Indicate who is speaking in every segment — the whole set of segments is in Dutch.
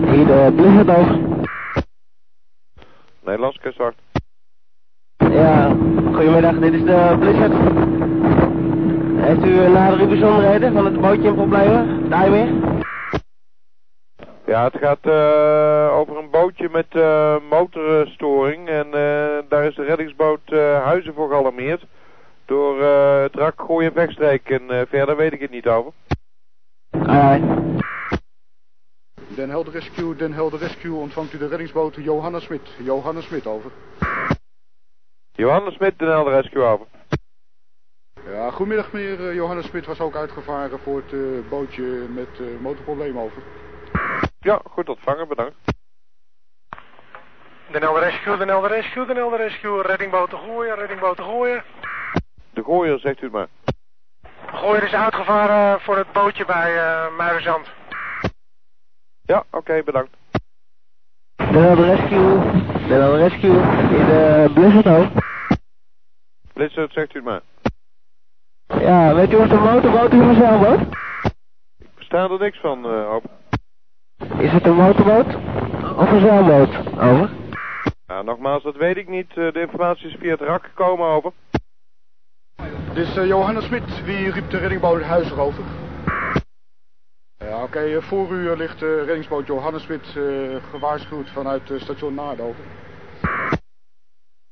Speaker 1: dus uh, Blizzardoog.
Speaker 2: Nederlands kustwacht.
Speaker 1: Ja, goedemiddag, dit is de Blizzard. Heeft u nadere bijzonderheden van het bootje in problemen? Daarmee?
Speaker 2: Ja, het gaat eh over een bootje met eh, motorstoring. En eh, daar is de reddingsboot eh, Huizen voor gealarmeerd. Door eh, het rak gooien wegstreek. En eh, verder weet ik het niet over.
Speaker 1: Alright.
Speaker 3: Den Helder Rescue, Den Helder Rescue ontvangt u de reddingsboot Johanna Smit. Johanna Smit, over.
Speaker 2: Johannes Smit, Den Helder Rescue over.
Speaker 3: Ja, goedemiddag meneer Eh, Johanna Smit was ook uitgevaren voor het eh, bootje met eh motorprobleem, over.
Speaker 2: Ja, goed ontvangen, bedankt.
Speaker 4: De Nelde Rescue, de Nelde Rescue, de Nelde Rescue. Reddingboot te gooien, reddingboot te gooien.
Speaker 2: De gooier, zegt u het maar.
Speaker 4: De gooier is uitgevaren voor het bootje bij eh Muiderzand.
Speaker 2: Ja, oké, bedankt.
Speaker 1: Den de Rescue. Den de Rescue. In eh, de Blizzardoog.
Speaker 2: Blizzard, zegt u het maar.
Speaker 1: Ja, weet u wat de motorboot is van zeilboot?
Speaker 2: Ik versta er niks van, eh hoop.
Speaker 1: Is het een motorboot? Of een zeilboot? Over.
Speaker 2: Ja, nogmaals, dat weet ik niet. Eh, de informatie is via het rak gekomen, over.
Speaker 3: Dit is eh, Johanna Smit, die riep de reddingboot Huizer, over. Ja, oké, eh, voor u eh, ligt de reddingsboot Johanna Smit eh, gewaarschuwd vanuit eh, station Naarden, over.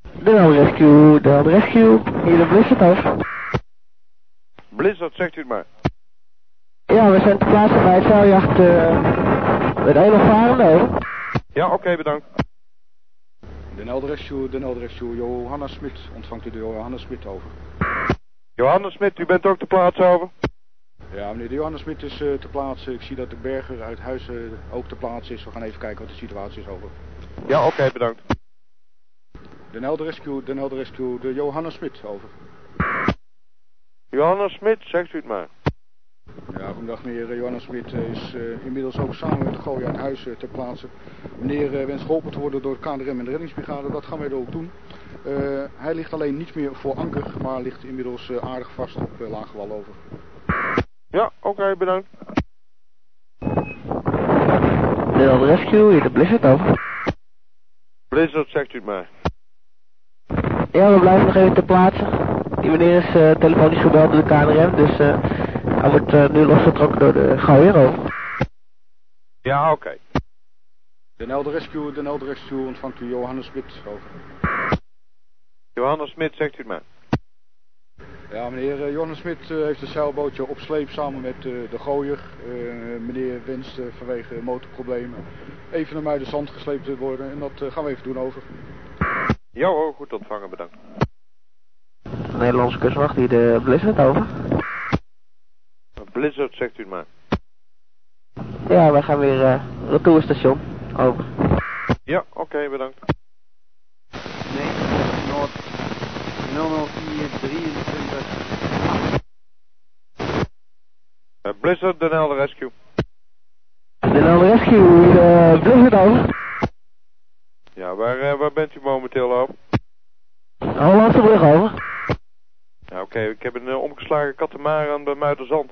Speaker 1: Den de Rescue. Den de Rescue. In de Blizzardoog.
Speaker 2: Blizzard, zegt u het maar.
Speaker 1: Ja, we zijn te plaatsen bij het zeiljacht eh, met één of varende over.
Speaker 2: Ja, oké, bedankt.
Speaker 3: Den Helder Rescue, Den Helder Rescue, Johanna Smit ontvangt u de Johanna Smit, over.
Speaker 2: Johannes Smit, u bent ook te plaatsen, over.
Speaker 3: Ja, meneer de Johannes Smit is eh, te plaatsen. Ik zie dat de Berger uit Huizen ook te plaatsen is. We gaan even kijken wat de situatie is over.
Speaker 2: Ja, oké, bedankt.
Speaker 3: De Helder Rescue, de Helder Rescue, de Johannes Smit, over.
Speaker 2: Johannes Smit, zegt u het maar.
Speaker 3: Ja, goedendag meneer eh, Johannes Smit eh, is eh, inmiddels ook samen met de Gooi uit Huizen te plaatsen. Meneer eh, wenst geholpen te worden door KNRM en de reddingsbrigade. Dat gaan wij ook doen. Eh, hij ligt alleen niet meer voor anker, maar ligt inmiddels eh, aardig vast op eh, lage wal over.
Speaker 2: Ja, oké, bedankt.
Speaker 1: Den de Rescue. In de Blizzardoog.
Speaker 2: Blizzard, zegt u het maar.
Speaker 1: Ja, we blijven nog even ter plaatse. Die meneer is eh, telefonisch gebeld door de KNRM, dus eh, hij wordt eh, nu losgetrokken door de Gouwer over.
Speaker 2: Ja, oké.
Speaker 3: De Helder Rescue, de Helder Rescue ontvangt u Johannes Smit, over.
Speaker 2: Johannes Smit, zegt u het maar.
Speaker 3: Ja, meneer eh, Johannes Smit eh, heeft een zeilbootje op sleep samen met eh, de gooier. Eh, meneer wenst eh, vanwege motorproblemen even naar Muiderzand gesleept te worden. En dat eh, gaan we even doen over.
Speaker 2: Ja hoor, goed ontvangen, bedankt.
Speaker 1: Nederlandse kustwacht die de Blizzard over.
Speaker 2: Blizzard, zegt u het maar.
Speaker 1: Ja, wij gaan weer eh retourstation over.
Speaker 2: Ja, oké, bedankt.
Speaker 5: 90 Noord 00423.
Speaker 2: Eh, Blizzard, Den Helder Rescue.
Speaker 1: De Nederlandse Rescue, de Blizzard over.
Speaker 2: Ja, waar, eh, waar bent u momenteel, hoop?
Speaker 1: Hollandse brug over.
Speaker 2: Ja, oké, ik heb een eh, omgeslagen katamaran bij Muiderzand.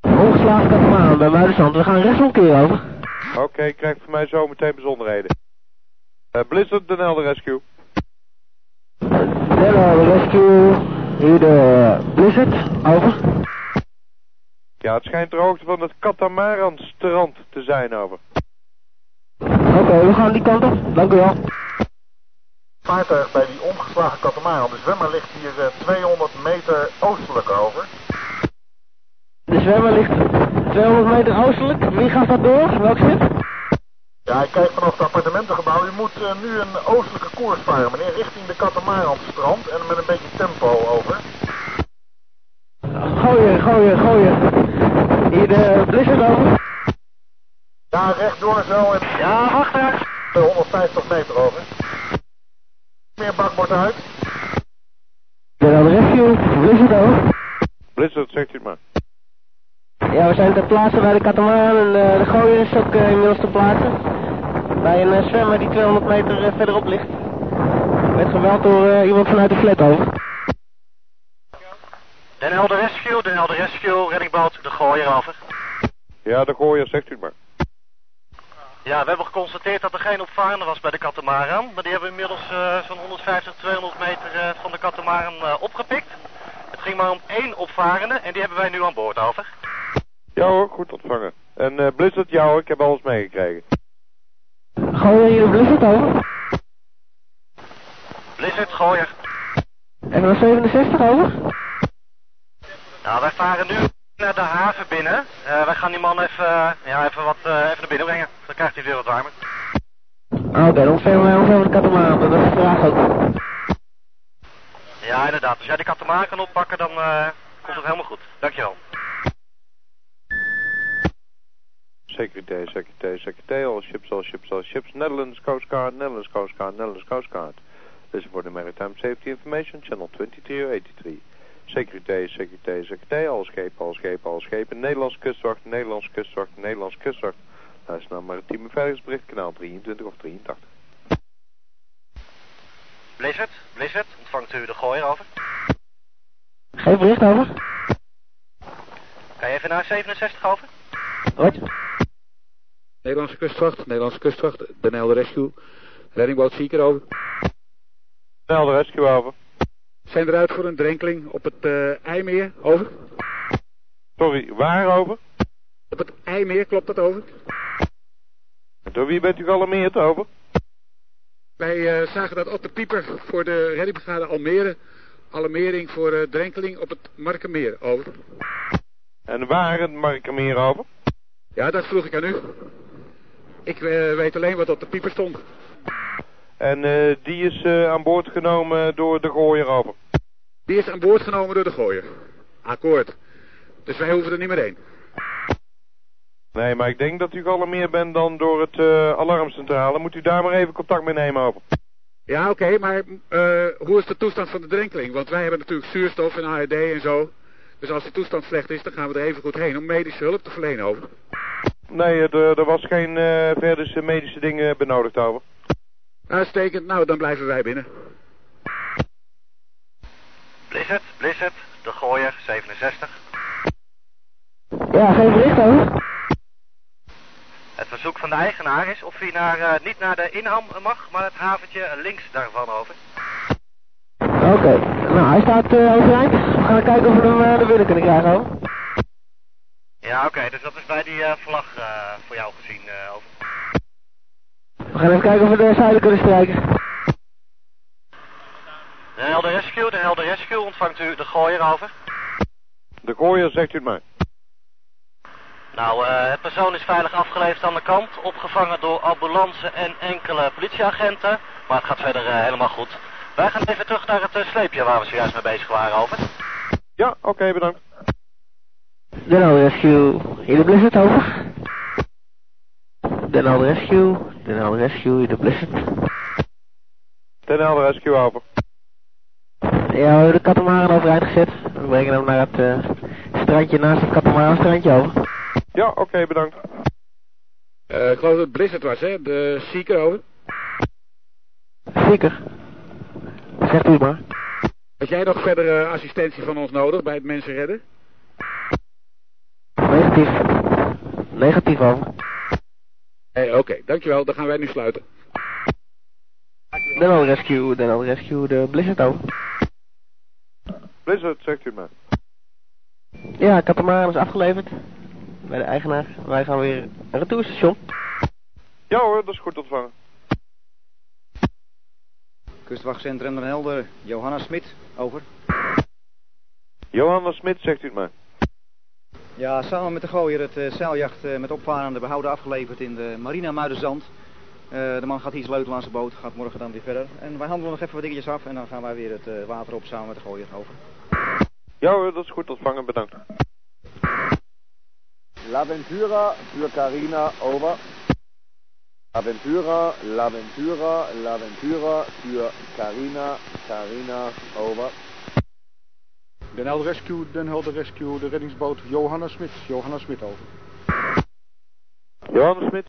Speaker 1: Ongeslagen dat maar bij Muidersand. We gaan rechtsomkeer over.
Speaker 2: Oké, ik krijg van mij zo meteen bijzonderheden. Eh, Blizzard, Den Helder Rescue.
Speaker 1: Nederlandse Rescue, hier de Blizzard over.
Speaker 2: Ja, het schijnt ter hoogte van het katamaranstrand te zijn, over.
Speaker 1: Oké, we gaan die kant op. Dank u wel.
Speaker 6: vaartuig bij die omgeslagen katamaran. De zwemmer ligt hier eh, 200 meter oostelijk over.
Speaker 1: De zwemmer ligt 200 meter oostelijk. Wie gaat dat door? Welk schip?
Speaker 6: Ja, ik kijk vanaf het appartementengebouw. U moet eh, nu een oostelijke koers varen, meneer, richting de katamaranstrand en met een beetje tempo over.
Speaker 1: Gooien, gooien, gooien. Hier eh, de blizzard over.
Speaker 6: Ja, rechtdoor zo en
Speaker 1: Ja, achteruit.
Speaker 6: eh, 150 meter over. Meer bakbord uit.
Speaker 1: De Rode Rescue, blizzard over.
Speaker 2: Blizzard, zegt u het maar.
Speaker 1: Ja, we zijn ter plaatse bij de katamaran en eh, de gooier is ook eh, inmiddels ter plaatse. Bij een eh, zwemmer die 200 meter eh, verderop ligt. Werd geweld door eh, iemand vanuit de flat over.
Speaker 4: De Nelde Rescue, de Nelde Rescue, reddingboot, de gooier over.
Speaker 2: Ja, de gooier, zegt u het maar.
Speaker 5: Ja, we hebben geconstateerd dat er geen opvarende was bij de katamaran. Maar die hebben we inmiddels eh, zo'n 150, 200 meter eh, van de katamaran eh, opgepikt. Het ging maar om één opvarende en die hebben wij nu aan boord, over.
Speaker 2: Ja hoor, goed ontvangen. En eh Blizzard, ja hoor, ik heb alles meegekregen.
Speaker 1: Gooien jullie Blizzard over?
Speaker 5: Blizzard, gooier.
Speaker 1: En was 67 over?
Speaker 5: Nou, wij varen nu naar de haven binnen. Eh, wij gaan die man even, eh, ja, even, wat, eh, even naar binnen brengen. Dan krijgt hij het weer wat warmer.
Speaker 1: Oh, daar ongeveer mij ongeveer de katamaran, dat is de vraag ook.
Speaker 5: Ja, inderdaad. Als jij die katamaran kan oppakken, dan eh, komt het helemaal goed. Dankjewel.
Speaker 2: Secretary, secretary, secretary, all ships, all ships, all ships. Netherlands Coast Guard, Netherlands Coast Guard, Netherlands Coast Guard. This is for the Maritime Safety Information, Channel 2383. Secretary, secretary, secretary, all schepen, all schepen, all schepen. Nederlands kustwacht, Nederlands kustwacht, Nederlands kustwacht. Luister naar Maritiem Beveiligingsbericht, kanaal 23 of 83.
Speaker 5: Blizzard, Blizzard, ontvangt u de gooier, over.
Speaker 1: Geef bericht over.
Speaker 5: Kan je even naar 67, over?
Speaker 1: Roger.
Speaker 7: Nederlandse kustwacht, Nederlandse kustwacht, de Nijl Rescue. Reddingboot Seeker over.
Speaker 2: Snel de rescue over.
Speaker 7: Zijn eruit voor een drenkeling op het eh IJmeer, over.
Speaker 2: Sorry, waar over?
Speaker 7: Op het IJmeer, klopt dat over?
Speaker 2: Door wie bent u gealarmeerd over?
Speaker 7: Wij eh, zagen dat op de pieper voor de reddingbrigade Almere. Alarmering voor eh, drenkeling op het Markenmeer, over.
Speaker 2: En waar het Markermeer over?
Speaker 7: Ja, dat vroeg ik aan u. Ik eh, weet alleen wat op de pieper stond.
Speaker 2: En eh, die is eh, aan boord genomen door de gooier over.
Speaker 7: Die is aan boord genomen door de gooier. Akkoord. Dus wij hoeven er niet meer heen.
Speaker 2: Nee, maar ik denk dat u gealarmeerd bent dan door het eh, alarmcentrale. Moet u daar maar even contact mee nemen over.
Speaker 7: Ja, oké, maar eh, hoe is de toestand van de drenkeling? Want wij hebben natuurlijk zuurstof en ARD en zo. Dus als de toestand slecht is, dan gaan we er even goed heen om medische hulp te verlenen over.
Speaker 2: Nee, het, eh, er was geen eh verdere medische dingen benodigd over.
Speaker 7: Uitstekend, nou dan blijven wij binnen.
Speaker 5: Blizzard, Blizzard, de gooier, 67.
Speaker 1: Ja, geef bericht over.
Speaker 5: Het verzoek van de eigenaar is of hij naar, eh, niet naar de inham mag, maar het haventje links daarvan over.
Speaker 1: Oké, nou hij staat eh, overeind. We gaan kijken of we hem eh, naar binnen kunnen krijgen over.
Speaker 5: Ja, oké, dus dat is bij die eh, vlag eh, voor jou gezien, eh, over.
Speaker 1: We gaan even kijken of we de zeilen kunnen strijken.
Speaker 5: De Helder Rescue, de Helder Rescue, ontvangt u de gooier, over.
Speaker 2: De gooier, zegt u het maar.
Speaker 5: Nou, eh, het persoon is veilig afgeleverd aan de kant, opgevangen door ambulance en enkele politieagenten. Maar het gaat verder eh, helemaal goed. Wij gaan even terug naar het eh, sleepje waar we zojuist mee bezig waren, over.
Speaker 2: Ja, oké, bedankt.
Speaker 1: Den Helder Rescue, jullie Blizzard over. Den Helder Rescue, Den Helder Rescue, jullie Blizzard.
Speaker 2: Ten Helder Rescue over.
Speaker 1: Ja, we hebben de katamaran overeind gezet. We brengen hem naar het eh, strandje naast het katamaranstrandje over.
Speaker 2: Ja, oké, bedankt.
Speaker 7: Eh, ik geloof dat het Blizzard was, hè? De Seeker over.
Speaker 1: Zeker. Zegt u het maar.
Speaker 7: Had jij nog verdere assistentie van ons nodig bij het mensen redden?
Speaker 1: Negatief. Negatief over.
Speaker 7: Eh, oké, dankjewel, dan gaan wij nu sluiten.
Speaker 1: Den Helder Rescue, Den Helder Rescue, de Blizzard over.
Speaker 2: Blizzard, zegt u het maar.
Speaker 1: Ja, katamaran is afgeleverd. Bij de eigenaar. Wij gaan weer naar het toerstation.
Speaker 2: Ja hoor, dat is goed ontvangen.
Speaker 8: Kustwachtcentrum Den Helder, Johanna Smit, over.
Speaker 2: Johanna Smit, zegt u het maar.
Speaker 8: Ja, samen met de gooier het eh, zeiljacht eh, met opvarende behouden afgeleverd in de marina Muidenzand. Eh, de man gaat hier sleutelen aan zijn boot, gaat morgen dan weer verder. En wij handelen nog even wat dingetjes af en dan gaan wij weer het eh, water op samen met de gooier over.
Speaker 2: Ja hoor, dat is goed ontvangen, bedankt.
Speaker 9: La Ventura für Carina, over. La Ventura, La Ventura, La Ventura für Carina, Carina, over.
Speaker 3: Den Helder Rescue, Den Helder Rescue, de reddingsboot Johanna Smit. Johanna Smit over.
Speaker 2: Johanna Smit.